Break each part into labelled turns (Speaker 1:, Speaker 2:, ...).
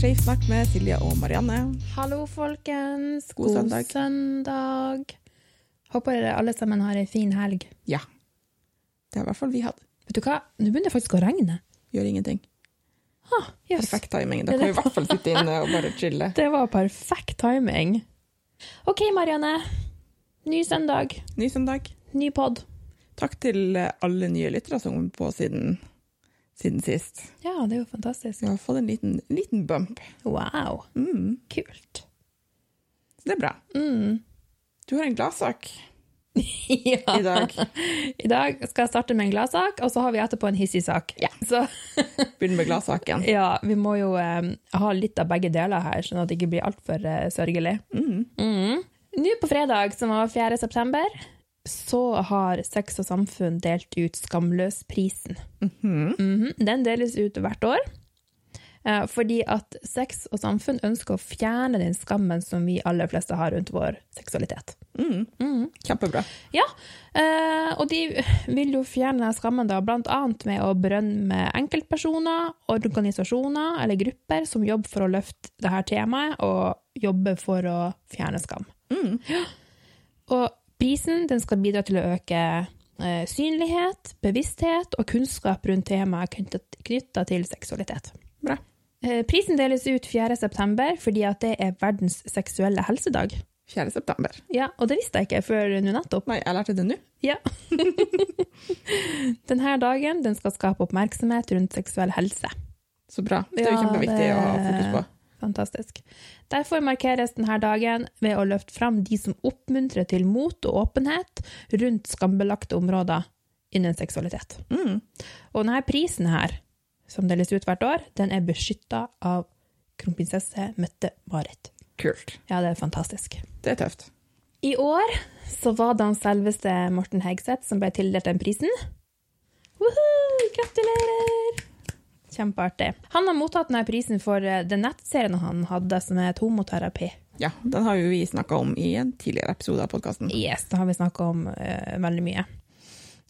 Speaker 1: Safe Snakk med Silje og Marianne.
Speaker 2: Hallo, folkens.
Speaker 1: God søndag.
Speaker 2: søndag. Håper dere alle sammen har ei en fin helg.
Speaker 1: Ja. Det har i hvert fall vi hatt.
Speaker 2: Vet du hva? Nå begynner det faktisk å regne.
Speaker 1: Gjør ingenting.
Speaker 2: Ah, yes.
Speaker 1: Perfekt timing. Da kan vi i hvert fall sitte inne og bare chille.
Speaker 2: Det var perfekt timing. OK, Marianne. Ny søndag,
Speaker 1: Ny søndag.
Speaker 2: ny pod.
Speaker 1: Takk til alle nye lyttere som kom på siden, siden sist.
Speaker 2: Ja, det er jo fantastisk.
Speaker 1: Vi har fått en liten, en liten bump.
Speaker 2: Wow,
Speaker 1: Mm.
Speaker 2: kult.
Speaker 1: Så det er bra.
Speaker 2: Mm.
Speaker 1: Du har en gladsak
Speaker 2: ja.
Speaker 1: i dag.
Speaker 2: I dag skal jeg starte med en gladsak, og så har vi etterpå en hissig sak. Så
Speaker 1: Begynn med gladsaken.
Speaker 2: ja, vi må jo eh, ha litt av begge deler her, sånn at det ikke blir altfor eh, sørgelig.
Speaker 1: Mm.
Speaker 2: Mm. Nå på fredag, som var 4. september, så har Sex og Samfunn delt ut Skamløsprisen.
Speaker 1: Mhm.
Speaker 2: Mhm. Den deles ut hvert år. eh, Fordi at Sex og Samfunn ønsker å fjerne den skammen som vi aller fleste har rundt vår seksualitet.
Speaker 1: Mm.
Speaker 2: Mhm.
Speaker 1: Kjempebra.
Speaker 2: Ja, eh, og de vil jo fjerne den skammen da, blant annet med å berømme enkeltpersoner, organisasjoner eller grupper som jobber for å løfte dette temaet og jobber for å fjerne skam.
Speaker 1: Mm.
Speaker 2: Og prisen den skal bidra til å øke eh, synlighet, bevissthet og kunnskap rundt temaet knytta til seksualitet.
Speaker 1: Bra.
Speaker 2: Eh, Prisen deles ut 4.9. fordi at det er verdens seksuelle helsedag.
Speaker 1: 4. september.
Speaker 2: Ja, Og det visste jeg ikke før nå nettopp.
Speaker 1: Nei, jeg lærte det nå.
Speaker 2: Ja. Denne dagen den skal skape oppmerksomhet rundt seksuell helse.
Speaker 1: Så bra. Det er jo
Speaker 2: Ja,
Speaker 1: kjempeviktig
Speaker 2: det-
Speaker 1: å ha fokus på.
Speaker 2: Fantastisk. Derfor markeres denne dagen ved å løfte fram de som oppmuntrer til mot og åpenhet rundt skambelagte områder innen seksualitet.
Speaker 1: Mm.
Speaker 2: Og denne prisen her, som deles ut hvert år, den er beskytta av kronprinsesse Mette-Marit.
Speaker 1: Kult.
Speaker 2: Ja, det er fantastisk.
Speaker 1: Det er tøft.
Speaker 2: I år så var det han selveste Morten Hegseth som ble tildelt den prisen. Woohoo! Gratulerer! Kjempeartig. Han har mottatt denne prisen for eh, den nettserien han hadde, som het Homoterapi.
Speaker 1: Ja, den har jo vi snakka om i en tidligere episode av podkasten.
Speaker 2: Yes, det har vi snakka om eh, veldig mye.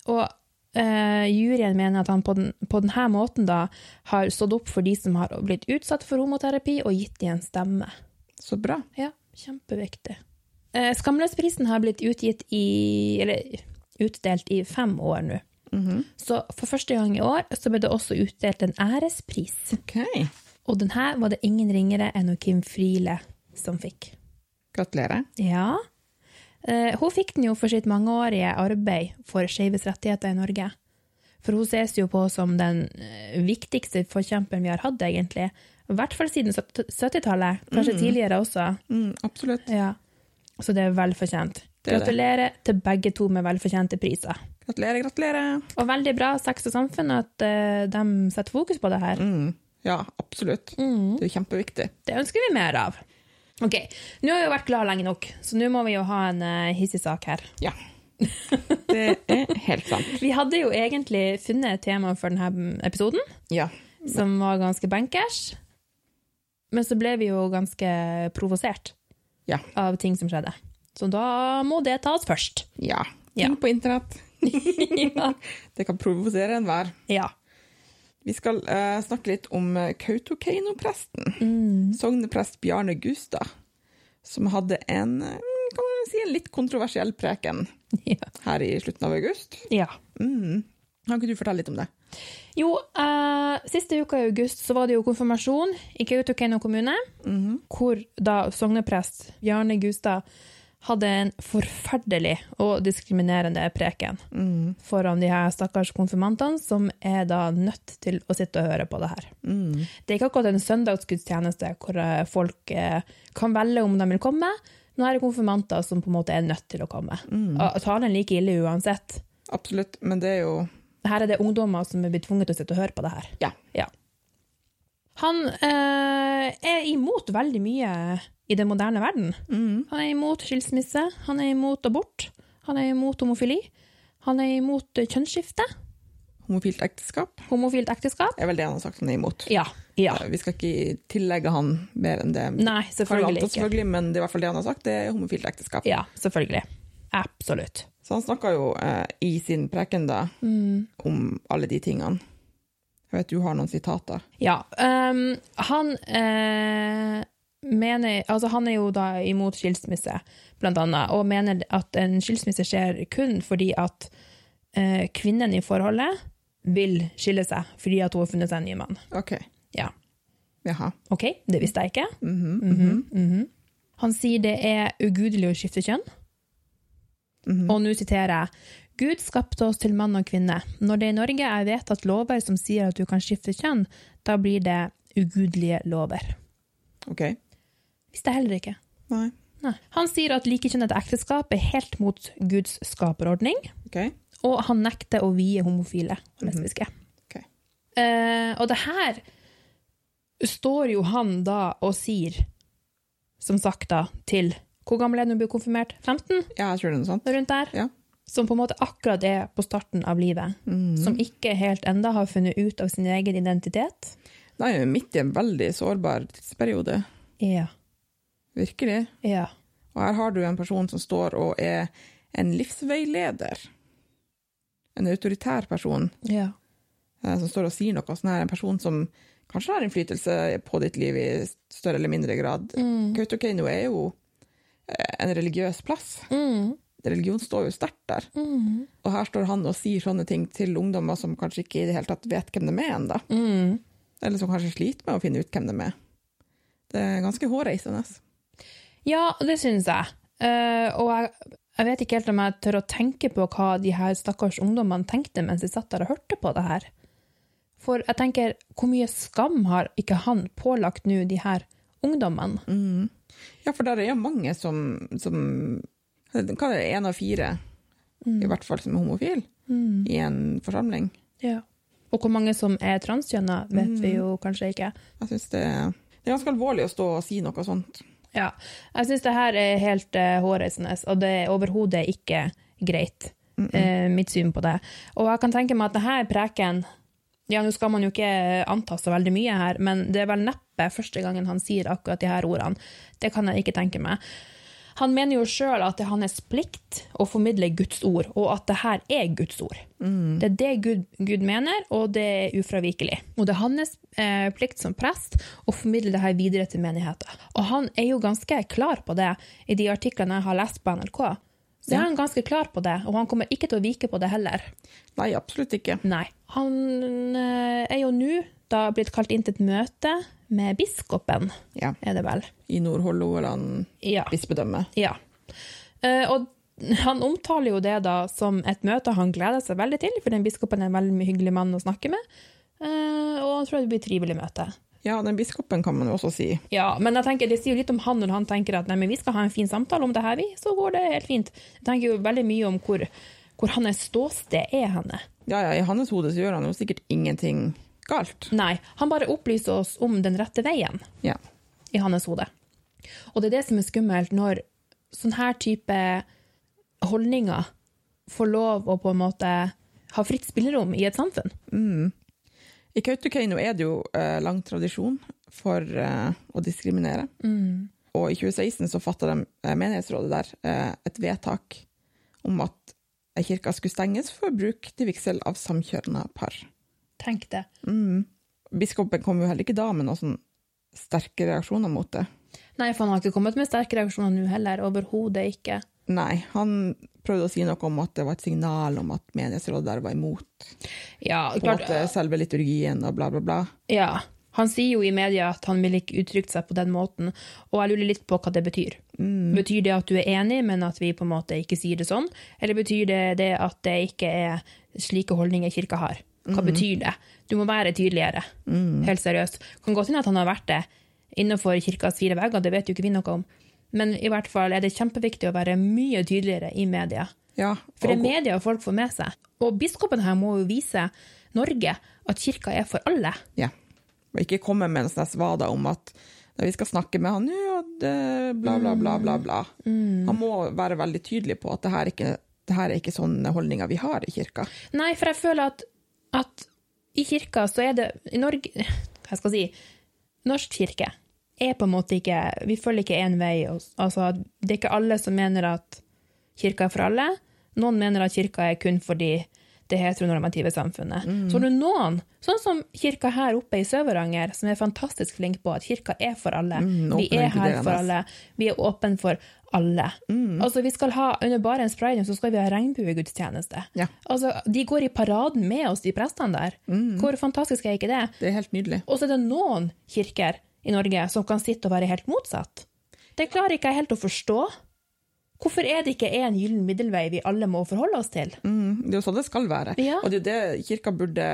Speaker 2: Og eh, juryen mener at han på, den, på denne måten da har stått opp for de som har blitt utsatt for homoterapi, og gitt dem en stemme.
Speaker 1: Så bra.
Speaker 2: Ja, kjempeviktig. Eh, Skamløsprisen har blitt utgitt i Eller utdelt i fem år nå.
Speaker 1: Mhm.
Speaker 2: Så for første gang i år så ble det også utdelt en ærespris.
Speaker 1: OK.
Speaker 2: Og den her var det ingen ringere enn hun Kim Friele som fikk.
Speaker 1: Gratulerer.
Speaker 2: Ja. Eh, hun fikk den jo for sitt mangeårige arbeid for skeives rettigheter i Norge. For hun ses jo på som den eh, viktigste forkjemperen vi har hatt, egentlig. I hvert fall siden 70-tallet, kanskje tidligere også.
Speaker 1: Mm, absolutt.
Speaker 2: Ja. Så det er velfortjent.
Speaker 1: Det er det.
Speaker 2: Gratulerer til begge to med velfortjente priser.
Speaker 1: Gratulerer, gratulerer.
Speaker 2: Og veldig bra Sex og Samfunn at eh, de setter fokus på det her.
Speaker 1: Mm. Ja, absolutt.
Speaker 2: Mm.
Speaker 1: Det er jo kjempeviktig.
Speaker 2: Det ønsker vi mer av. Ok, Nå har vi jo vært glad lenge nok, så nå må vi jo ha en eh, hissig sak her.
Speaker 1: Ja. Det er helt sant.
Speaker 2: Vi hadde jo egentlig funnet et tema for denne episoden,
Speaker 1: Ja.
Speaker 2: som var ganske bankers. Men så ble vi jo ganske provosert
Speaker 1: Ja.
Speaker 2: av ting som skjedde. Så da må det tas først.
Speaker 1: ja.
Speaker 2: Ja.
Speaker 1: Ting på internett.
Speaker 2: ja.
Speaker 1: Det kan provosere enhver.
Speaker 2: ja.
Speaker 1: Vi skal eh, snakke litt om eh, Kautokeino-presten. Mm. Sogneprest Bjarne Gustad, som hadde en, eh, kan man si, en litt kontroversiell preken
Speaker 2: Ja.
Speaker 1: her i slutten av august.
Speaker 2: ja.
Speaker 1: Mm. Kan ikke du fortelle litt om det?
Speaker 2: Jo, eh, siste uka i august så var det jo konfirmasjon i Kautokeino kommune, hvor da sogneprest Bjarne Gustad hadde en forferdelig og diskriminerende preken
Speaker 1: Mm.
Speaker 2: foran de her stakkars konfirmantene, som er da nødt til å sitte og høre på det her.
Speaker 1: Mm.
Speaker 2: Det er ikke akkurat en søndagsgudstjeneste hvor eh, folk eh, kan velge om de vil komme. Nå er det konfirmanter som på en måte er nødt til å komme. Og talen er like ille uansett.
Speaker 1: Absolutt, men det er jo
Speaker 2: Her er det ungdommer som er blitt tvunget til å sitte og høre på det her.
Speaker 1: Ja.
Speaker 2: Han eh, er imot veldig mye i den moderne verden.
Speaker 1: mm.
Speaker 2: Han er imot skilsmisse, han er imot abort, han er imot homofili, han er imot eh, kjønnsskifte,
Speaker 1: Homofilt ekteskap
Speaker 2: homofilt ekteskap.
Speaker 1: er vel det han har sagt han er imot.
Speaker 2: Ja. ja.
Speaker 1: Vi skal ikke tillegge han mer enn det. Kan jo
Speaker 2: Nei,
Speaker 1: anta,
Speaker 2: selvfølgelig ikke.
Speaker 1: selvfølgelig, men det er i hvert fall det han har sagt, det er homofilt ekteskap.
Speaker 2: Ja, selvfølgelig. Absolutt. Mm.
Speaker 1: Så han snakka jo eh, i sin preken da om alle de tingene. Jeg vet du har noen sitater.
Speaker 2: Ja. ehm, han eh, mener Altså, han er jo da imot skilsmisse, blant annet, og mener at en skilsmisse skjer kun fordi at eh, kvinnen i forholdet vil skille seg fordi at hun har funnet seg en ny mann.
Speaker 1: Ok.
Speaker 2: Ja.
Speaker 1: Jaha.
Speaker 2: OK, det visste jeg ikke.
Speaker 1: Mhm,
Speaker 2: Mhm, mhm. Han sier det er ugudelig å skifte kjønn.
Speaker 1: mhm.
Speaker 2: Og nå siterer jeg Gud skapte oss til mann og kvinne. Når det i Norge er vedtatt lover som sier at du kan skifte kjønn, da blir det ugudelige lover.
Speaker 1: Ok.
Speaker 2: Visste jeg heller ikke.
Speaker 1: Nei.
Speaker 2: Nei. Han sier at likekjønnet ekteskap er helt mot Guds skaperordning,
Speaker 1: Ok.
Speaker 2: og han nekter å vie homofile og lesbiske.
Speaker 1: Mhm. Ok.
Speaker 2: Eh, og det her står jo han da og sier, som sagt da, til Hvor gammel er du når du blir konfirmert? 15?
Speaker 1: Ja, jeg tror det er noe sånt.
Speaker 2: Rundt der?
Speaker 1: Ja.
Speaker 2: Som på en måte akkurat er på starten av livet.
Speaker 1: Mhm.
Speaker 2: Som ikke helt enda har funnet ut av sin egen identitet.
Speaker 1: Nei, vi er midt i en veldig sårbar tidsperiode.
Speaker 2: Ja.
Speaker 1: Virkelig.
Speaker 2: Ja.
Speaker 1: Og her har du en person som står og er en livsveileder. En autoritær person
Speaker 2: ja.
Speaker 1: eh, som står og sier noe sånn her. En person som kanskje har innflytelse på ditt liv i større eller mindre grad. Kautokeino er jo eh, en religiøs plass.
Speaker 2: Mm.
Speaker 1: Religion står jo sterkt der.
Speaker 2: Mm.
Speaker 1: Og her står han og sier sånne ting til ungdommer som kanskje ikke i det hele tatt vet hvem de er ennå.
Speaker 2: Mm.
Speaker 1: Eller som kanskje sliter med å finne ut hvem de er. Det er ganske hårreisende. altså.
Speaker 2: Ja, det syns jeg. Eh, og jeg, jeg vet ikke helt om jeg tør å tenke på hva de her stakkars ungdommene tenkte mens de satt der og hørte på det her. For jeg tenker, hvor mye skam har ikke han pålagt nå de her ungdommene?
Speaker 1: Ja, for der er jo mange som, som Hva er det, én av fire, i hvert fall som er homofil, i en forsamling?
Speaker 2: Ja. Og hvor mange som er transkjønna, vet vi jo kanskje ikke.
Speaker 1: Jeg syns det, det er ganske alvorlig å stå og si noe sånt.
Speaker 2: Ja. Jeg syns det her er helt uh, hårreisende, og det er overhodet ikke greit. eh, mitt syn på det. Og jeg kan tenke meg at det her preken Ja, nå skal man jo ikke eh, anta så veldig mye her, men det er vel neppe første gangen han sier akkurat de her ordene. Det kan jeg ikke tenke meg. Han mener jo sjøl at det er hans plikt å formidle Guds ord, og at det her er Guds ord. Det er det Gud, Gud mener, og det er ufravikelig. Og det er hans eh, plikt som prest å formidle det her videre til menigheten. Og han er jo ganske klar på det i de artiklene jeg har lest på NRK. Så er han ganske klar på det, og han kommer ikke til å vike på det heller.
Speaker 1: Nei, absolutt ikke.
Speaker 2: Nei. Han eh, er jo nå da blitt kalt inn til et møte med biskopen,
Speaker 1: Ja.
Speaker 2: er det vel?
Speaker 1: I Nord-Hålogaland
Speaker 2: Ja.
Speaker 1: bispedømme.
Speaker 2: Ja. Eh, og han omtaler jo det da som et møte han gleder seg veldig til, for den biskopen er en veldig hyggelig mann å snakke med. Eh, og han tror det blir et trivelig møte.
Speaker 1: Ja, den biskopen kan man jo også si.
Speaker 2: Ja, men jeg tenker, det sier jo litt om han når han tenker at nei, men vi skal ha en fin samtale om det her, vi, så går det helt fint. Jeg tenker jo veldig mye om hvor, hvor hans ståsted er henne.
Speaker 1: Ja, ja, i hans hode så gjør han jo sikkert ingenting galt.
Speaker 2: Nei, han bare opplyser oss om den rette veien.
Speaker 1: Ja.
Speaker 2: i hans hode. Og det er det som er skummelt når sånn her type holdninger får lov å på en måte ha fritt spillerom i et samfunn.
Speaker 1: I Kautokeino er det jo eh, lang tradisjon for eh, å diskriminere.
Speaker 2: Mm.
Speaker 1: Og i 2016 så fatta de, eh, menighetsrådet der eh, et vedtak om at kirka skulle stenges for bruk til vigsel av samkjønna par.
Speaker 2: Tenk det.
Speaker 1: Biskopen kom jo heller ikke da med noen sånn sterke reaksjoner mot det.
Speaker 2: Nei, for han har ikke kommet med sterke reaksjoner nå heller. Overhodet ikke.
Speaker 1: Nei, han prøvde å si noe om at det var et signal om at menighetsrådet der var imot
Speaker 2: Ja,
Speaker 1: på en
Speaker 2: klart.
Speaker 1: måte selve liturgien og bla, bla, bla.
Speaker 2: Ja. Han sier jo i media at han ville ikke uttrykt seg på den måten, og jeg lurer litt på hva det betyr. Betyr det at du er enig, men at vi på en måte ikke sier det sånn? Eller betyr det, det at det ikke er slike holdninger kirka har? Hva betyr det? Du må være tydeligere. Helt seriøst. Kan godt hende at han har vært det innenfor kirkas fire vegger, det vet jo ikke vi noe om. Men i hvert fall er det kjempeviktig å være mye tydeligere i media.
Speaker 1: Ja,
Speaker 2: For
Speaker 1: og-
Speaker 2: det er media folk får med seg. Og biskopen her må jo vise Norge at kirka er for alle.
Speaker 1: Ja. Og ikke komme med en sånn svada om at «Nei, vi skal snakke med han nå, og det, bla, bla, bla, bla, bla. Han må være veldig tydelig på at det her, ikke, det her er ikke sånne holdninger vi har i kirka.
Speaker 2: Nei, for jeg føler at, at i kirka så er det i Norge, Hva skal jeg si? Norsk kirke er på en måte ikke Vi følger ikke én vei. og- Altså, det er ikke alle som mener at kirka er for alle. Noen mener at kirka er kun for de det heteronormative samfunnet. Så har du noen, sånn som kirka her oppe i Sør-Varanger, som er fantastisk flink på at kirka er for alle.
Speaker 1: Mm, åpen
Speaker 2: vi
Speaker 1: og
Speaker 2: er her for
Speaker 1: inkluderende.
Speaker 2: alle. Vi er åpne for alle.
Speaker 1: Mm.
Speaker 2: Altså, vi skal ha, Under Barents Pride så skal vi ha regnbuegudstjeneste.
Speaker 1: Ja.
Speaker 2: Altså, de går i paraden med oss, de prestene der.
Speaker 1: Mm.
Speaker 2: Hvor fantastisk er ikke det?
Speaker 1: Det er helt nydelig.
Speaker 2: Og så er det noen kirker i Norge som kan sitte og være helt motsatt. Det klarer ikke jeg helt å forstå. Hvorfor er det ikke en gyllen middelvei vi alle må forholde oss til?
Speaker 1: Mm, det er jo sånn det skal være.
Speaker 2: Ja.
Speaker 1: Og det er jo det kirka burde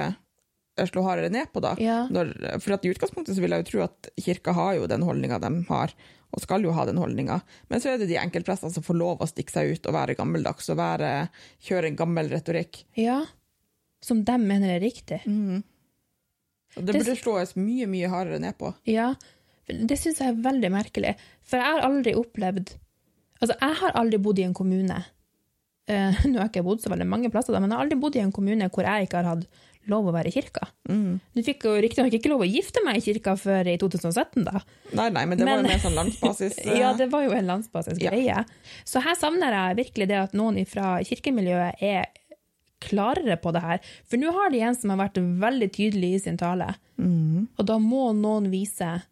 Speaker 1: slå hardere ned på, da.
Speaker 2: Ja.
Speaker 1: Når, for at i utgangspunktet så vil jeg jo tro at kirka har jo den holdninga de har, og skal jo ha den holdninga. Men så er det de enkeltprestene som får lov å stikke seg ut og være gammeldags og være, kjøre en gammel retorikk.
Speaker 2: Ja, Som de mener er riktig.
Speaker 1: Og det
Speaker 2: Det-
Speaker 1: burde slås mye, mye hardere ned på.
Speaker 2: Ja, Det syns jeg er veldig merkelig, for jeg har aldri opplevd Altså, jeg har aldri bodd i en kommune eh, Nå har jeg ikke bodd så veldig mange plasser, da, men jeg har aldri bodd i en kommune hvor jeg ikke har hatt lov å være i kirka. Du fikk jo riktignok ikke lov å gifte meg i kirka før i 2017, da.
Speaker 1: Nei, nei, men det var
Speaker 2: Men-
Speaker 1: jo mer sånn landsbasis. eh,
Speaker 2: Ja, det var jo en landsbasens
Speaker 1: Ja.
Speaker 2: greie. Så her savner jeg virkelig det at noen fra kirkemiljøet er klarere på det her. For nå har de en som har vært veldig tydelig i sin tale. Og da må noen vise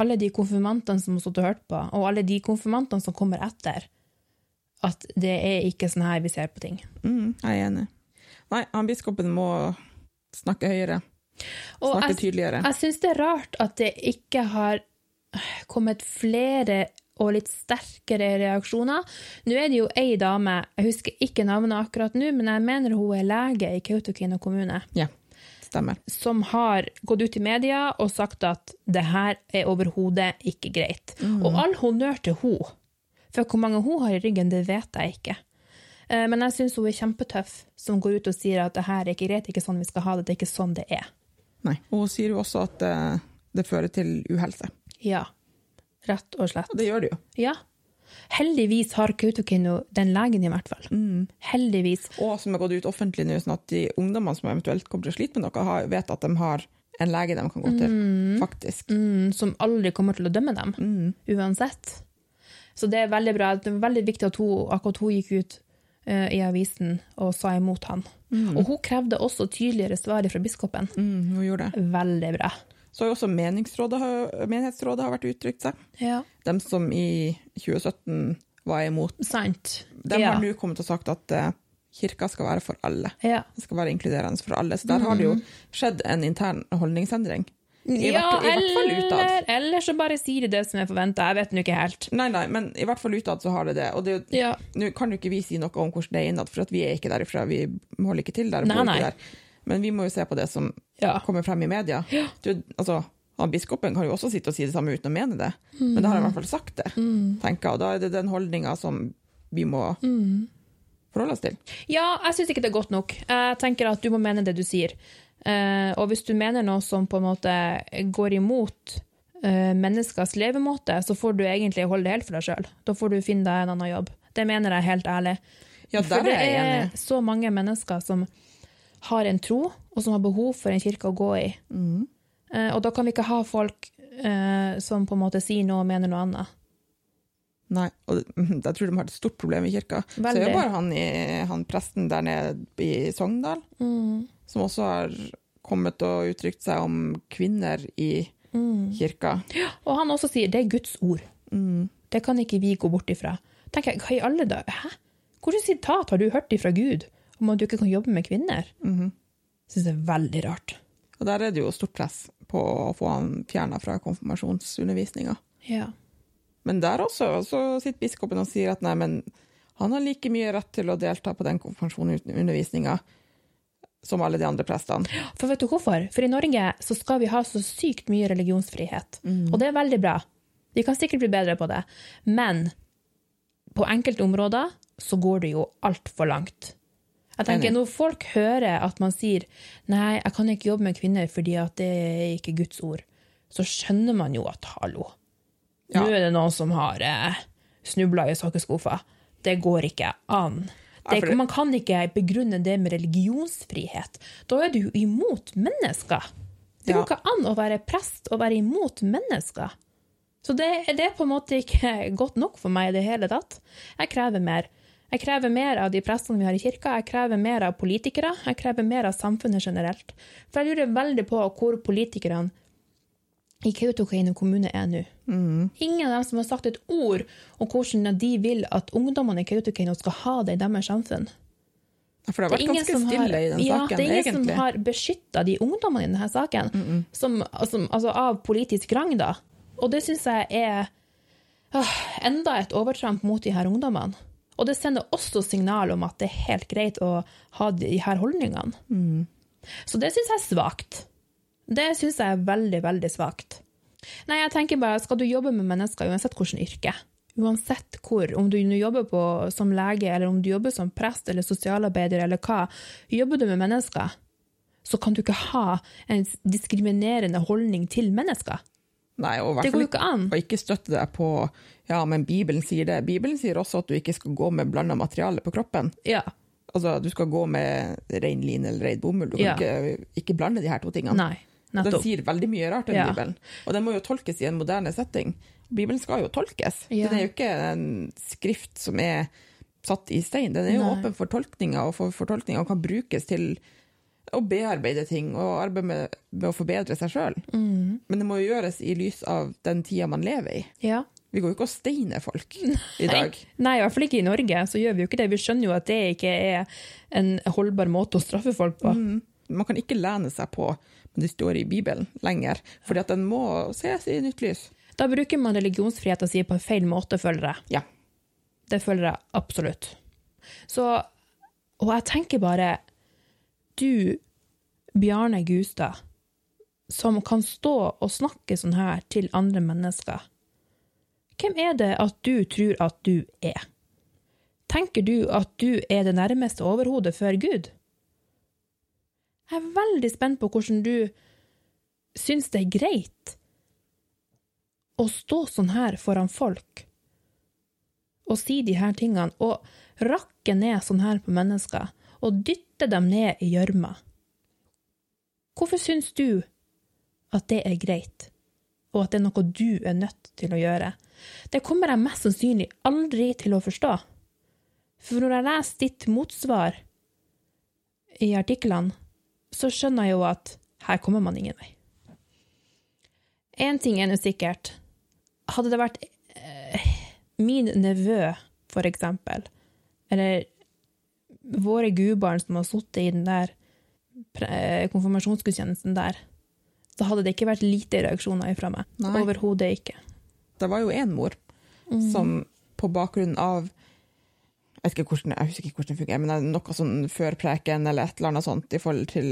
Speaker 2: alle de konfirmantene som har stått og hørt på, og alle de konfirmantene som kommer etter, at det er ikke sånn her vi ser på ting.
Speaker 1: mm, jeg er enig. Nei, han biskopen må snakke høyere.
Speaker 2: Og
Speaker 1: Snakke
Speaker 2: jeg-
Speaker 1: tydeligere.
Speaker 2: Jeg syns det er rart at det ikke har kommet flere og litt sterkere reaksjoner. Nå er det jo ei dame, jeg husker ikke navnet akkurat nå, men jeg mener hun er lege i Kautokeino kommune,
Speaker 1: Ja, stemmer.
Speaker 2: som har gått ut i media og sagt at det her er overhodet ikke greit. Og all honnør til hun, for hvor mange hun har i ryggen, det vet jeg ikke. Eh, Men jeg syns hun er kjempetøff som går ut og sier at det her er ikke greit, det er ikke sånn vi skal ha det, det er ikke sånn det er.
Speaker 1: Nei. Og hun sier jo også at eh, det fører til uhelse.
Speaker 2: Ja, rett og slett.
Speaker 1: Og det gjør det jo.
Speaker 2: Ja. Heldigvis har Kautokeino den legen, i hvert fall. Heldigvis.
Speaker 1: Mm. og som har gått ut offentlig nå, sånn at de ungdommene som eventuelt kommer til å slite med noe, har, vet at de har en lege de kan gå til, faktisk. Mm,
Speaker 2: Mm, som aldri kommer til å dømme dem, uansett. Så det er veldig bra. Det er veldig viktig at hun, akkurat hun gikk ut eh, i avisen og sa imot han. Og hun krevde også tydeligere svar fra biskopen.
Speaker 1: Mm, hun gjorde det.
Speaker 2: Veldig bra.
Speaker 1: Så har jo også meningsrådet, har- menighetsrådet har vært uttrykt seg.
Speaker 2: Ja.
Speaker 1: De som i 2017 var imot,
Speaker 2: Sant.
Speaker 1: de
Speaker 2: ja.
Speaker 1: har nå kommet og sagt at eh, kirka skal være for alle.
Speaker 2: ja.
Speaker 1: Det skal være inkluderende for alle.
Speaker 2: Mm.
Speaker 1: Så der har det jo skjedd en intern holdningsendring. I
Speaker 2: ja,
Speaker 1: hvert, i hvert fall utad.
Speaker 2: eller, eller så bare sier de det som er forventa. Jeg vet nå ikke helt.
Speaker 1: Nei, nei, men i hvert fall utad så har det det. Og det er jo-
Speaker 2: Ja.
Speaker 1: nå kan jo ikke vi si noe om hvordan det er innad, for at vi er ikke derifra, vi holder ikke til der.
Speaker 2: Nei,
Speaker 1: bor ikke
Speaker 2: nei.
Speaker 1: der. Men vi må jo se på det som
Speaker 2: Ja.
Speaker 1: kommer frem i media. Du, altså, han biskopen kan jo også sitte og si det samme uten å mene det, men da har han i
Speaker 2: Mm.
Speaker 1: hvert fall sagt det, tenker jeg. Og da er det den holdninga som vi må
Speaker 2: Mm.
Speaker 1: forholde oss til.
Speaker 2: Ja, jeg syns ikke det er godt nok. Jeg tenker at du må mene det du sier. Eh, og hvis du mener noe som på en måte går imot eh, menneskers levemåte, så får du egentlig holde det helt for deg sjøl. Da får du finne deg en annen jobb. Det mener jeg helt ærlig.
Speaker 1: Ja, der
Speaker 2: for
Speaker 1: er
Speaker 2: det
Speaker 1: jeg enig.
Speaker 2: er så mange mennesker som har en tro, og som har behov for en kirke å gå i.
Speaker 1: Mm.
Speaker 2: Eh, og da kan vi ikke ha folk eh, som på en måte sier noe og mener noe annet.
Speaker 1: Nei, og det- jeg tror de har et stort problem i kirka. Så er
Speaker 2: Veldig.
Speaker 1: det bare han, i, han presten der nede i Sogndal,
Speaker 2: Mm,
Speaker 1: som også har kommet og uttrykt seg om kvinner i kirka.
Speaker 2: mm.
Speaker 1: Mm,
Speaker 2: Og han også sier det er Guds ord. Det kan ikke vi gå bort ifra. Tenker jeg, Hva i alle dager? Hæ? Hvilket sitat har du hørt ifra Gud om at du ikke kan jobbe med kvinner? Mm Syns det er veldig rart.
Speaker 1: mhm. Og der er det jo stort press på å få han fjerna fra konfirmasjonsundervisninga.
Speaker 2: Ja.
Speaker 1: Men der også så sitter biskopen og sier at nei, men han har like mye rett til å delta på den konfirmasjonsundervisninga som alle de andre prestene.
Speaker 2: For vet du hvorfor? For i Norge så skal vi ha så sykt mye religionsfrihet.
Speaker 1: Mm.
Speaker 2: Og det er veldig bra. Vi kan sikkert bli bedre på det. Men på enkelte områder så går det jo altfor langt. Jeg tenker
Speaker 1: Enig.
Speaker 2: Når folk hører at man sier nei, jeg kan ikke jobbe med kvinner fordi at det er ikke Guds ord, så skjønner man jo at hallo,
Speaker 1: Ja.
Speaker 2: nå er det noen som har eh, snubla i sokkeskuffa. Det går ikke an. Det,
Speaker 1: Ja, for det-
Speaker 2: man kan ikke begrunne det med religionsfrihet. Da er du jo imot mennesker. Det
Speaker 1: Ja.
Speaker 2: går ikke an å være prest og være imot mennesker. Så det, det er på en måte ikke godt nok for meg i det hele tatt. Jeg krever mer. Jeg krever mer av de prestene vi har i kirka, jeg krever mer av politikere, jeg krever mer av samfunnet generelt. For jeg lurer veldig på hvor politikerne i Kautokeino kommune er nå. Ingen av dem som har sagt et ord om hvordan de vil at ungdommene i Kautokeino skal ha det i deres samfunn.
Speaker 1: Ja, For det har
Speaker 2: Det er
Speaker 1: vært
Speaker 2: ingen
Speaker 1: ganske
Speaker 2: som har-
Speaker 1: stille i den
Speaker 2: ja,
Speaker 1: saken,
Speaker 2: det er ingen
Speaker 1: egentlig.
Speaker 2: som har beskytta de ungdommene i denne saken, som, som, altså av politisk rang, da. Og det syns jeg er åh, enda et overtramp mot de her ungdommene. Og det sender også signal om at det er helt greit å ha de her holdningene.
Speaker 1: Mm.
Speaker 2: Så det syns jeg er svakt. Det syns jeg er veldig, veldig svakt. Nei, jeg tenker bare, skal du jobbe med mennesker uansett hvilket yrke, uansett hvor, om du nå jobber på, som lege, eller om du jobber som prest eller sosialarbeider eller hva, jobber du med mennesker, så kan du ikke ha en diskriminerende holdning til mennesker.
Speaker 1: Nei, og i hvert
Speaker 2: Det
Speaker 1: fall
Speaker 2: går jo ikke an.
Speaker 1: Og ikke støtte deg på ja, men Bibelen sier det. Bibelen sier også at du ikke skal gå med blanda materiale på kroppen.
Speaker 2: Ja,
Speaker 1: Altså, du skal gå med rein lin eller rein bomull. Du kan
Speaker 2: Ja.
Speaker 1: ikke, ikke blande de her to tingene.
Speaker 2: nei,
Speaker 1: Den
Speaker 2: nettopp.
Speaker 1: sier veldig mye rart, den
Speaker 2: Ja.
Speaker 1: Bibelen. Og den må jo tolkes i en moderne setting. Bibelen skal jo tolkes.
Speaker 2: Ja.
Speaker 1: Den er jo ikke en skrift som er satt i stein. Den er jo
Speaker 2: Nei.
Speaker 1: åpen for tolkninger, og for fortolkninger kan brukes til å bearbeide ting og arbeide med, med å forbedre seg sjøl.
Speaker 2: Mm.
Speaker 1: Men det må jo gjøres i lys av den tida man lever i.
Speaker 2: Ja.
Speaker 1: Vi går jo ikke og steiner folk i dag.
Speaker 2: Nei, i hvert fall ikke i Norge, så gjør vi jo ikke det. Vi skjønner jo at det ikke er en holdbar måte å straffe
Speaker 1: Mm.
Speaker 2: folk på.
Speaker 1: Man kan ikke lene seg på men det står i Bibelen lenger, fordi at den må ses i nytt lys.
Speaker 2: Da bruker man religionsfriheten sin på en feil måte, føler jeg.
Speaker 1: Ja.
Speaker 2: Det føler jeg absolutt. Så, og jeg tenker bare, du, Bjarne Gustad, som kan stå og snakke sånn her til andre mennesker, hvem er det at du tror at du er? Tenker du at du er det nærmeste overhodet før Gud? Jeg er veldig spent på hvordan du syns det er greit å stå sånn her foran folk og si de her tingene, og rakke ned sånn her på mennesker, og dytte dem ned i gjørma. Hvorfor syns du at det er greit, og at det er noe du er nødt til å gjøre? Det kommer jeg mest sannsynlig aldri til å forstå. For når jeg leser ditt motsvar i artiklene, så skjønner jeg jo at her kommer man ingen vei. Én ting er nå sikkert. Hadde det vært eh, min nevø, for eksempel, eller våre gudbarn som har sittet i den der pre- konfirmasjonsgudstjenesten der, da hadde det ikke vært lite reaksjoner ifra meg.
Speaker 1: Nei.
Speaker 2: Overhodet ikke.
Speaker 1: Det var jo en mor som på bakgrunn av jeg, vet ikke hvordan, jeg husker ikke hvordan det fungerer, men det er noe sånn før preken eller et eller annet sånt i forhold til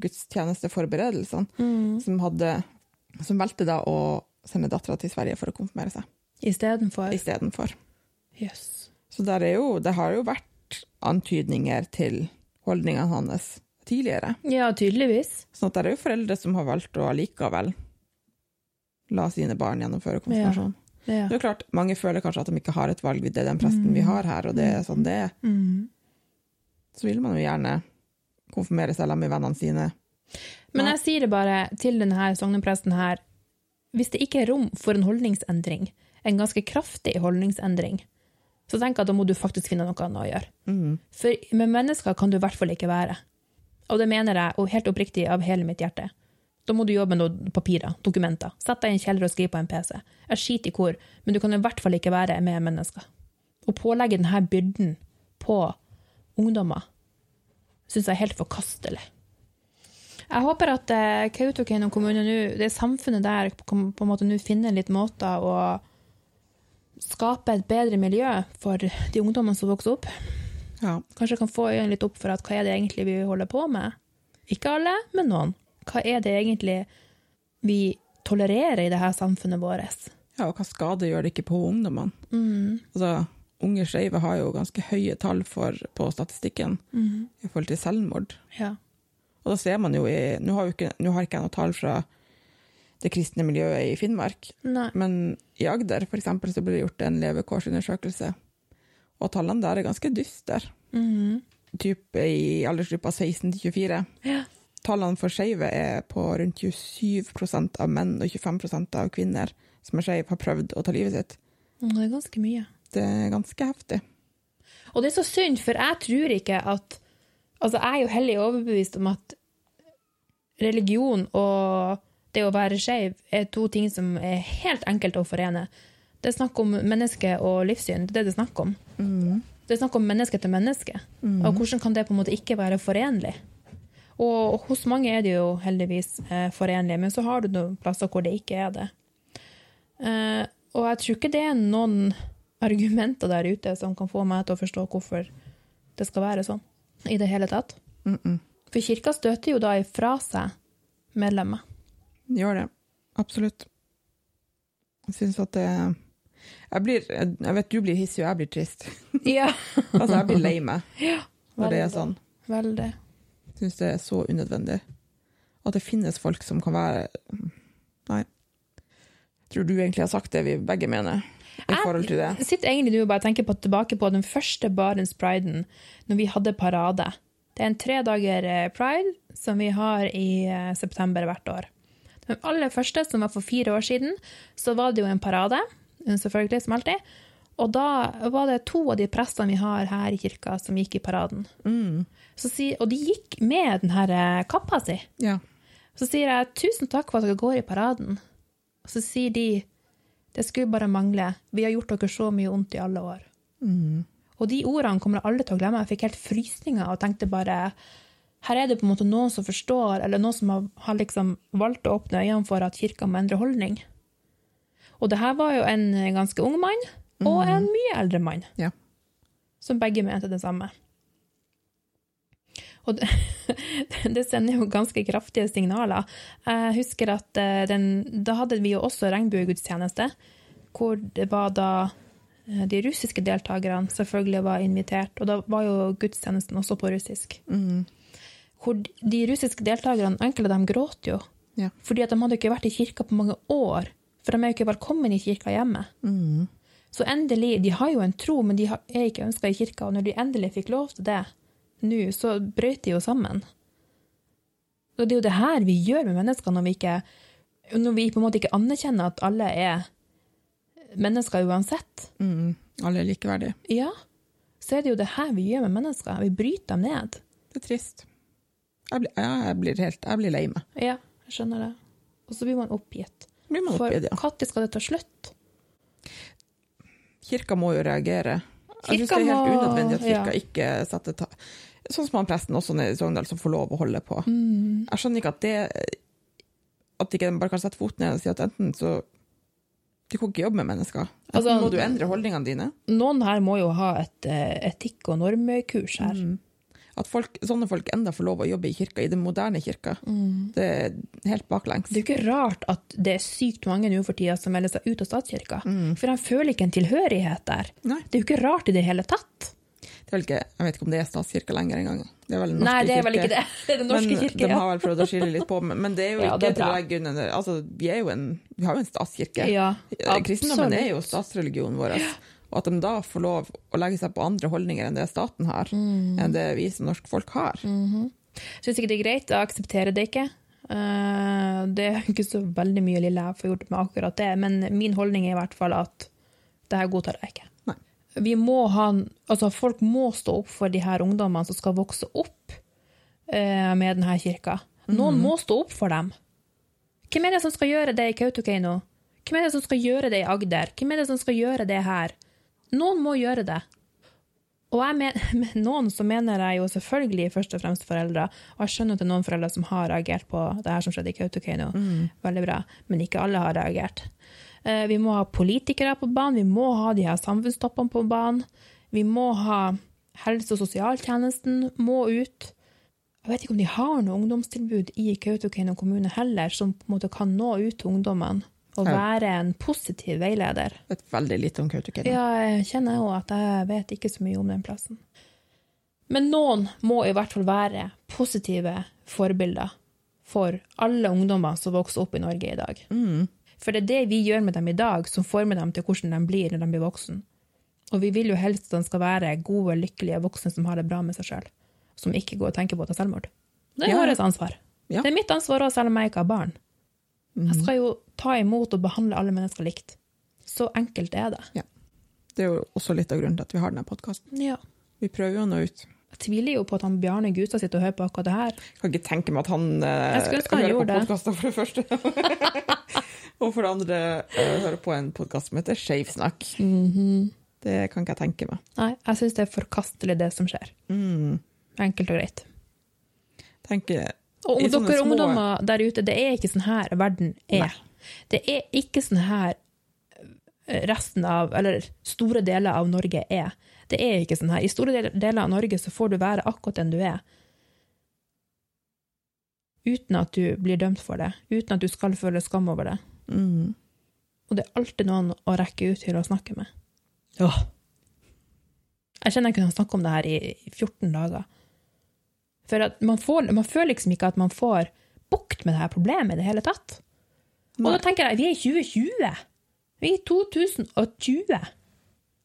Speaker 1: gudstjenesteforberedelsene, som, hadde, som valgte da å sende dattera til Sverige for å konfirmere seg
Speaker 2: Istedenfor Jøss.
Speaker 1: istedenfor.
Speaker 2: Yes.
Speaker 1: Så der er jo, det har jo vært antydninger til holdningene hans tidligere.
Speaker 2: Ja, tydeligvis.
Speaker 1: Sånn at det er jo foreldre som har valgt å allikevel la sine barn gjennomføre konfirmasjon.
Speaker 2: Ja.
Speaker 1: Det er jo klart, Mange føler kanskje at de ikke har et valg, det er den presten vi har her, og det er sånn det er.
Speaker 2: Mm.
Speaker 1: Så vil man jo gjerne konfirmere seg sammen med vennene sine.
Speaker 2: Men
Speaker 1: Nei.
Speaker 2: jeg sier det bare til denne sognepresten her, hvis det ikke er rom for en holdningsendring, en ganske kraftig holdningsendring, så tenk at da må du faktisk finne noe annet å gjøre.
Speaker 1: Mm.
Speaker 2: For med mennesker kan du i hvert fall ikke være. Og det mener jeg og helt oppriktig av hele mitt hjerte. Da må du jobbe med noen papirer, dokumenter. Sett deg i en kjeller og skriv på en PC. Jeg skiter i hvor, men du kan i hvert fall ikke være med mennesker. Å pålegge denne byrden på ungdommer syns jeg er helt forkastelig. Jeg håper at eh, Kautokeino kommune nå, det samfunnet der, kom- på en måte nå finner litt måter å skape et bedre miljø for de ungdommene som vokser opp.
Speaker 1: Ja.
Speaker 2: Kanskje jeg kan få øynene litt opp for at hva er det egentlig vi holder på med? Ikke alle, men noen. Hva er det egentlig vi tolererer i det her samfunnet vårt? Mm.
Speaker 1: ja, og hva skade gjør det ikke på ungdommene? Altså, unge skeive har jo ganske høye tall for, på statistikken i forhold til selvmord.
Speaker 2: Mm. Ja.
Speaker 1: Og da ser man jo i Nå har, jo ikke, nå har ikke jeg noe tall fra det kristne miljøet i Finnmark,
Speaker 2: Nei.
Speaker 1: men i Agder for eksempel, så ble det gjort en levekårsundersøkelse, og tallene der er ganske dystre. Typ i aldersgruppa 16 til 24.
Speaker 2: Mm. Ja.
Speaker 1: Tallene for skeive er på rundt 27 av menn og 25 av kvinner som er skeive, har prøvd å ta livet sitt.
Speaker 2: Det er ganske mye.
Speaker 1: Det er ganske heftig.
Speaker 2: Og det er så synd, for jeg tror ikke at Altså, jeg er jo hellig overbevist om at religion og det å være skeiv er to ting som er helt enkelt å forene. Det er snakk om menneske og livssyn. Det er det det er snakk om. Det er snakk om menneske til menneske. Og hvordan kan det på en måte ikke være forenlig? Og, og hos mange er det jo heldigvis eh, forenlig, men så har du noen plasser hvor det ikke er det. Eh, og jeg tror ikke det er noen argumenter der ute som kan få meg til å forstå hvorfor det skal være sånn i det hele tatt.
Speaker 1: Mm
Speaker 2: Mm-hmm.
Speaker 1: -mm.
Speaker 2: For kirka støter jo da ifra seg medlemmer.
Speaker 1: Gjør det. Absolutt. Jeg syns at det jeg, blir, jeg vet du blir hissig, og jeg blir trist.
Speaker 2: Ja.
Speaker 1: Altså, jeg blir lei meg når det er
Speaker 2: Veldig.
Speaker 1: sånn.
Speaker 2: Veldig.
Speaker 1: Jeg syns det er så unødvendig. At det finnes folk som kan være Nei. Jeg tror du egentlig har sagt det vi begge mener i
Speaker 2: Jeg-
Speaker 1: forhold til det.
Speaker 2: Jeg sitter egentlig nå og bare tenker på, tilbake på den første Barents Priden, når vi hadde parade. Det er en tre dager eh, pride som vi har i eh, september hvert år. Den aller første, som var for fire år siden, så var det jo en parade, eh, selvfølgelig, som alltid. Og da var det to av de prestene vi har her i kirka, som gikk i paraden. Så si, og de gikk med den her eh, kappa si.
Speaker 1: Ja.
Speaker 2: Så sier jeg 'tusen takk for at dere går i paraden'. Og så sier de 'det skulle bare mangle, vi har gjort dere så mye vondt i alle år'. Mm-hmm. Og de ordene kommer jeg aldri til å glemme. Jeg fikk helt frysninger og tenkte bare her er det på en måte noen som forstår, eller noen som har, har liksom valgt å åpne øynene for at kirka må endre holdning. Og det her var jo en ganske ung mann og en mye eldre mann,
Speaker 1: Ja.
Speaker 2: som begge mente det samme. Og det, det sender jo ganske kraftige signaler. Jeg husker at eh, den, da hadde vi jo også regnbuegudstjeneste, hvor det var da eh, de russiske deltakerne selvfølgelig var invitert, og da var jo gudstjenesten også på russisk.
Speaker 1: Mm.
Speaker 2: Hvor de russiske deltakerne, enkelte av dem gråt jo,
Speaker 1: Ja.
Speaker 2: fordi at de hadde ikke vært i kirka på mange år, for de er jo ikke velkommen i kirka hjemme.
Speaker 1: Mm.
Speaker 2: Så endelig, de har jo en tro, men de har- er ikke ønska i kirka, og når de endelig fikk lov til det nå, så brøt de jo sammen. Og det er jo det her vi gjør med mennesker når vi ikke når vi på en måte ikke anerkjenner at alle er mennesker uansett.
Speaker 1: Mm. Alle er likeverdige.
Speaker 2: Ja, så er det jo det her vi gjør med mennesker. Vi bryter dem ned.
Speaker 1: Det er trist. Jeg blir, ja, jeg blir helt Jeg blir lei meg.
Speaker 2: Ja, jeg skjønner det. Og så blir man oppgitt.
Speaker 1: Blir man
Speaker 2: For
Speaker 1: oppgitt, ja.
Speaker 2: når skal det ta slutt?
Speaker 1: Kirka må jo reagere. Jeg synes
Speaker 2: Kirka
Speaker 1: det er helt
Speaker 2: må-
Speaker 1: unødvendig at kirka
Speaker 2: ja.
Speaker 1: ikke setter ta... Sånn som han presten også nede i Sogndal, som får lov å holde på.
Speaker 2: Mm.
Speaker 1: Jeg skjønner ikke at det At ikke de bare kan sette foten ned og si at enten så Du kan ikke jobbe med mennesker. Enten
Speaker 2: Altså,
Speaker 1: må du endre holdningene dine.
Speaker 2: Noen her må jo ha et eh, etikk- og normkurs
Speaker 1: Mm.
Speaker 2: her.
Speaker 1: At folk, sånne folk enda får lov å jobbe i kirka, i den moderne kirka.
Speaker 2: Mm.
Speaker 1: Det er helt baklengs.
Speaker 2: Det er jo ikke rart at det er sykt mange nå for tida som melder seg ut av statskirka. For de føler ikke en tilhørighet der.
Speaker 1: Mm. Nei.
Speaker 2: Det er jo ikke rart i det hele tatt.
Speaker 1: Det er vel ikke, jeg vet ikke om det er statskirka lenger engang. Det er vel den norske
Speaker 2: Nei, det er vel
Speaker 1: kirke.
Speaker 2: ikke det. Det er Den norske
Speaker 1: men
Speaker 2: kirke,
Speaker 1: de
Speaker 2: ja.
Speaker 1: har vel prøvd å skille litt på, men men det er jo
Speaker 2: Ja,
Speaker 1: ikke
Speaker 2: det er
Speaker 1: til å
Speaker 2: bra.
Speaker 1: legge under altså, Vi er jo en, vi har jo en statskirke.
Speaker 2: Ja,
Speaker 1: Eh, Kristendommen
Speaker 2: absolutt.
Speaker 1: er jo statsreligionen vår. Og at de da får lov å legge seg på andre holdninger enn det staten har,
Speaker 2: Mm.
Speaker 1: enn det vi som norsk folk har.
Speaker 2: Syns ikke det er greit. Jeg aksepterer det ikke. Eh, Det er ikke så veldig mye lille jeg får gjort med akkurat det, men min holdning er i hvert fall at det her godtar jeg ikke.
Speaker 1: Nei.
Speaker 2: Vi må ha, altså folk må stå opp for de her ungdommene som skal vokse opp eh, med denne kirka. Noen må stå opp for dem. Hvem er det som skal gjøre det i Kautokeino? Hvem er det som skal gjøre det i Agder? Hvem er det som skal gjøre det her? Noen må gjøre det. Og jeg men, med noen så mener jeg jo selvfølgelig først og fremst foreldre, og jeg skjønner at det er noen foreldre som har reagert på det her som skjedde i Kautokeino. Veldig bra. Men ikke alle har reagert. Eh, Vi må ha politikere på banen, vi må ha de her samfunnstoppene på banen. Vi må ha helse- og sosialtjenesten må ut. Jeg vet ikke om de har noe ungdomstilbud i Kautokeino kommune heller, som på en måte kan nå ut til ungdommene og
Speaker 1: Ja.
Speaker 2: være en positiv veileder.
Speaker 1: Vet veldig lite om Kautokeino.
Speaker 2: Ja, jeg kjenner jo at jeg vet ikke så mye om den plassen. Men noen må i hvert fall være positive forbilder for alle ungdommer som vokser opp i Norge i dag.
Speaker 1: Mm.
Speaker 2: For det er det vi gjør med dem i dag, som former dem til hvordan de blir når de blir voksen. Og vi vil jo helst at de skal være gode, lykkelige voksne som har det bra med seg sjøl. Som ikke går og tenker på å ta selvmord. Det er
Speaker 1: Ja.
Speaker 2: vårt ansvar.
Speaker 1: Ja. Mhm.
Speaker 2: Det er mitt ansvar òg, selv om jeg ikke har barn. Jeg skal jo ta imot og behandle alle mennesker likt. Så enkelt er det.
Speaker 1: Det er jo også litt av grunnen til at vi har denne podkasten.
Speaker 2: Ja.
Speaker 1: Vi prøver jo å nå ut.
Speaker 2: Jeg tviler jo på at han Bjarne Gustad sitter og hører på akkurat det her.
Speaker 1: Jeg kan ikke tenke meg at han eh,
Speaker 2: Jeg skulle ønske han
Speaker 1: hører på
Speaker 2: gjorde det.
Speaker 1: podkaster, for det første. og for det andre eh, hører på en podkast som heter Skeivsnakk. Mhm. Det kan ikke jeg tenke meg.
Speaker 2: Nei, jeg syns det er forkastelig, det som skjer.
Speaker 1: Mm.
Speaker 2: Enkelt og greit.
Speaker 1: Tenker,
Speaker 2: Og
Speaker 1: I
Speaker 2: om
Speaker 1: sånne
Speaker 2: dere
Speaker 1: små-
Speaker 2: ungdommer der ute, det er ikke sånn her verden er. Det er ikke sånn her eh, resten av, eller store deler av Norge er. Det er ikke sånn her. I store del- deler av Norge så får du være akkurat den du er. Uten at du blir dømt for det. Uten at du skal føle skam over det.
Speaker 1: mm.
Speaker 2: Og det er alltid noen å rekke ut til å snakke med. Ja. Jeg kjenner jeg kunne snakke om det her i i 14 dager. For at man, får, man føler liksom ikke at man får bukt med det her problemet i det hele tatt. Og da
Speaker 1: Nei.
Speaker 2: tenker jeg, vi er i 2020! Vi er i 2020!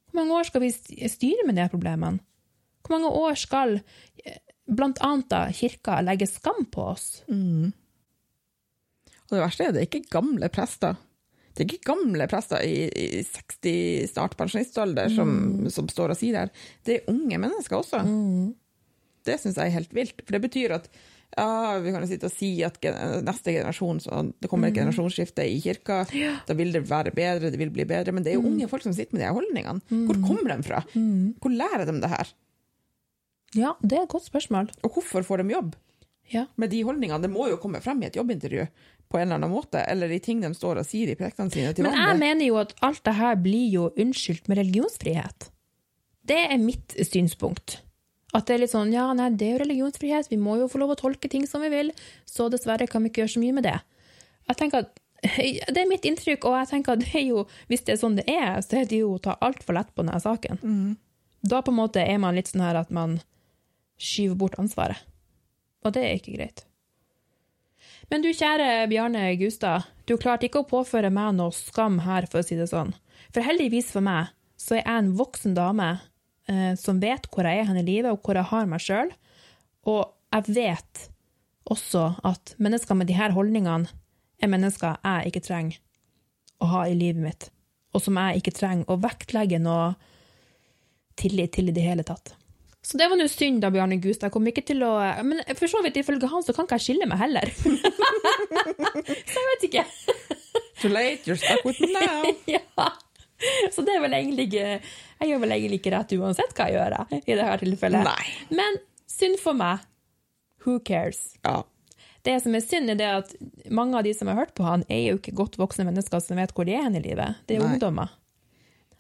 Speaker 2: Hvor mange år skal vi st- styre med de her problemene? Hvor mange år skal eh, blant annet da kirka legge skam på oss?
Speaker 1: Mm. Og det verste er det er ikke gamle prester. Det er ikke gamle prester i, i 60 snart pensjonistalder som,
Speaker 2: Mm.
Speaker 1: som står og sier det her. Det er unge mennesker også. Det syns jeg er helt vilt. For det betyr at ja, vi kan jo sitte og si at gen- neste generasjon, så det kommer
Speaker 2: Mhm.
Speaker 1: et generasjonsskifte i kirka, da vil det være bedre, det vil bli bedre. Men det er
Speaker 2: Mhm.
Speaker 1: jo unge folk som sitter med de her holdningene. Hvor kommer de fra? Hvor lærer de det her?
Speaker 2: Ja, det er et godt spørsmål.
Speaker 1: Og hvorfor får de jobb?
Speaker 2: Ja.
Speaker 1: med de holdningene. Det må jo komme frem i et jobbintervju på en eller annen måte, eller i ting de står og sier i prektene sine til
Speaker 2: Men jeg
Speaker 1: vanlig.
Speaker 2: mener jo at alt det her blir jo unnskyldt med religionsfrihet. Det er mitt synspunkt. At det er litt sånn ja, nei, det er jo religionsfrihet, vi må jo få lov å tolke ting som vi vil, så dessverre kan vi ikke gjøre så mye med det. Jeg tenker at Det er mitt inntrykk, og jeg tenker at det er jo, hvis det er sånn det er, så er det jo å ta altfor lett på denne saken. Da på en måte er man litt sånn her at man skyver bort ansvaret. Og det er ikke greit. Men du kjære Bjarne Gustad, du klarte ikke å påføre meg noe skam her, for å si det sånn. For heldigvis for meg, så er jeg en voksen dame eh, som vet hvor jeg er hen i livet, og hvor jeg har meg sjøl. Og jeg vet også at mennesker med de her holdningene er mennesker jeg ikke trenger å ha i livet mitt, og som jeg ikke trenger å vektlegge noe tillit til i det hele tatt. Så det var nå synd, da, Bjarne Gustad. Jeg kommer ikke til å Men for så vidt, ifølge han, så kan ikke jeg skille meg heller. så jeg vet ikke.
Speaker 1: Too late, you're stuck with me now.
Speaker 2: Ja. Så det er vel egentlig ikke Jeg gjør vel egentlig ikke rett uansett hva jeg gjør, jeg, i dette tilfellet.
Speaker 1: Nei.
Speaker 2: Men synd for meg. Who cares?
Speaker 1: Ja.
Speaker 2: Det som er synd, er det at mange av de som har hørt på han, er jo ikke godt voksne mennesker som vet hvor de er hen i livet. Det er
Speaker 1: Nei.
Speaker 2: ungdommer.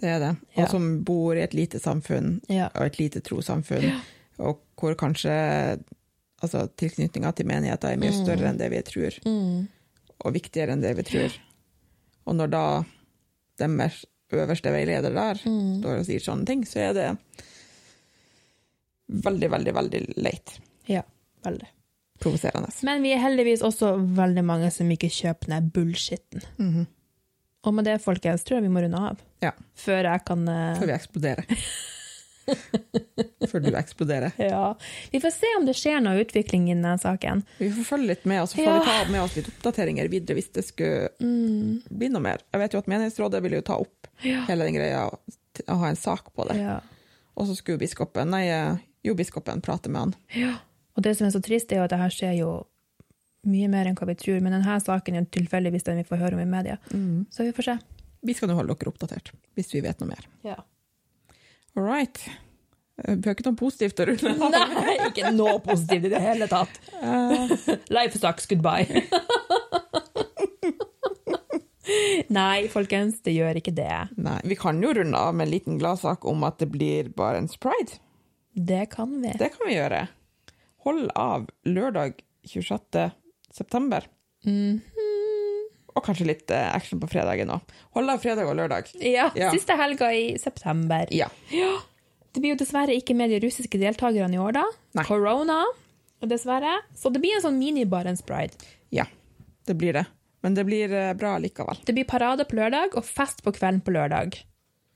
Speaker 1: Det er det.
Speaker 2: Ja.
Speaker 1: Og som bor i et lite samfunn,
Speaker 2: Ja.
Speaker 1: og et lite trossamfunn, og hvor kanskje altså, tilknytninga til menigheten er mye større enn det vi tror,
Speaker 2: Mm.
Speaker 1: og viktigere enn det vi tror. Og når da deres øverste veileder der
Speaker 2: Mm.
Speaker 1: står og sier sånne ting, så er det veldig, veldig, veldig leit.
Speaker 2: Ja, veldig.
Speaker 1: Provoserende.
Speaker 2: Men vi er heldigvis også veldig mange som ikke kjøper den bullshitten.
Speaker 1: Mhm.
Speaker 2: Og med det, folkens, tror jeg vi må runde av.
Speaker 1: Ja.
Speaker 2: Før jeg kan eh,
Speaker 1: Før vi eksploderer. Før du eksploderer.
Speaker 2: Ja. Vi får se om det skjer noe utvikling i denne saken.
Speaker 1: Vi får følge litt med, og så får
Speaker 2: Ja.
Speaker 1: vi ta med oss litt oppdateringer videre hvis det skulle
Speaker 2: Mm.
Speaker 1: bli noe mer. Jeg vet jo at menighetsrådet ville jo ta opp hele den greia og t- og ha en sak på det.
Speaker 2: Ja.
Speaker 1: Og så skulle biskopen, nei, eh, jo biskopen prate med han.
Speaker 2: Og det som er så trist, er jo at det her skjer jo mye mer enn hva vi tror. Men denne saken er jo tilfeldigvis den vi får høre om i media. Så vi får se.
Speaker 1: Vi skal nå holde dere oppdatert, hvis vi vet noe mer.
Speaker 2: Ja.
Speaker 1: All right. Eh, Vi har ikke noe positivt å rulle av.
Speaker 2: Nei, ikke noe positivt i det hele tatt. Life sucks, goodbye. Nei, folkens, det gjør ikke det.
Speaker 1: Nei, vi kan jo runde av med en liten gladsak om at det blir Barents Pride.
Speaker 2: Det kan vi.
Speaker 1: Det kan vi gjøre. Hold av lørdag 26. september.
Speaker 2: Mhm.
Speaker 1: Og kanskje litt eh, action på fredagen òg. Hold av fredag og lørdag.
Speaker 2: Ja,
Speaker 1: Ja.
Speaker 2: siste helga i september.
Speaker 1: Ja.
Speaker 2: Det blir jo dessverre ikke med de russiske deltakerne i år, da.
Speaker 1: Nei.
Speaker 2: Corona, og dessverre. Så det blir en sånn mini-Barents Pride.
Speaker 1: ja. Det blir det. Men det blir eh, bra likevel.
Speaker 2: Det blir parade på lørdag og fest på kvelden på lørdag.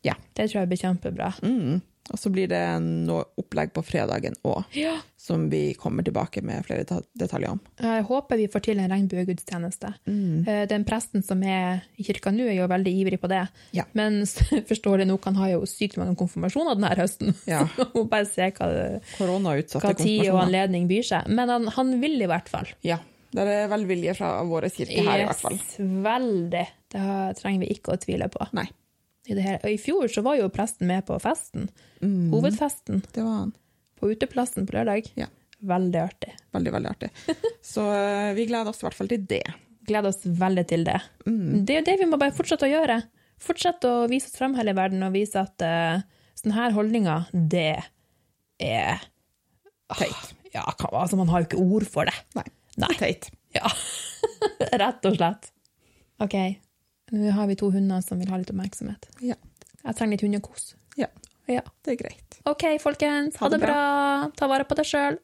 Speaker 1: Ja.
Speaker 2: Det tror jeg blir kjempebra.
Speaker 1: Mm. Og så blir det noe opplegg på fredagen òg,
Speaker 2: Ja.
Speaker 1: som vi kommer tilbake med flere deta- detaljer om.
Speaker 2: Jeg håper vi får til en regnbuegudstjeneste. Eh, Den presten som er i kirka nå, er jo veldig ivrig på det.
Speaker 1: Ja.
Speaker 2: Men s- forstår det nok, han har jo sykt mange konfirmasjoner denne høsten.
Speaker 1: Ja.
Speaker 2: Må bare se hva, det-
Speaker 1: Koronautsatte
Speaker 2: hva tid og
Speaker 1: konfirmasjoner.
Speaker 2: anledning byr seg. Men han, han vil i hvert fall.
Speaker 1: Ja. Det er velvilje fra vår kirke her, i hvert fall.
Speaker 2: Yes, veldig. Det har- trenger vi ikke å tvile på.
Speaker 1: Nei,
Speaker 2: I, det hele. Og I fjor så var jo presten med på festen.
Speaker 1: Mhm.
Speaker 2: Hovedfesten
Speaker 1: Mm, det var han.
Speaker 2: på uteplassen på lørdag.
Speaker 1: Ja.
Speaker 2: Veldig artig.
Speaker 1: Veldig, veldig artig. Så eh, vi gleder oss i hvert fall til det. Mm,
Speaker 2: gleder oss veldig til det. Det er jo det vi må bare fortsette å gjøre. Fortsette å vise oss frem hele verden og vise at eh, sånne her holdninger, det er Teit. Ja, kan, altså, man har jo ikke ord for det.
Speaker 1: Nei.
Speaker 2: Nei.
Speaker 1: Teit.
Speaker 2: Ja. Rett og slett. OK, nå har vi to hunder som vil ha litt oppmerksomhet.
Speaker 1: Ja.
Speaker 2: Jeg trenger litt hundekos.
Speaker 1: ja.
Speaker 2: Ja.
Speaker 1: Det er greit.
Speaker 2: OK, folkens.
Speaker 1: Ha
Speaker 2: Ha
Speaker 1: det
Speaker 2: det bra. Ta vare på deg sjøl.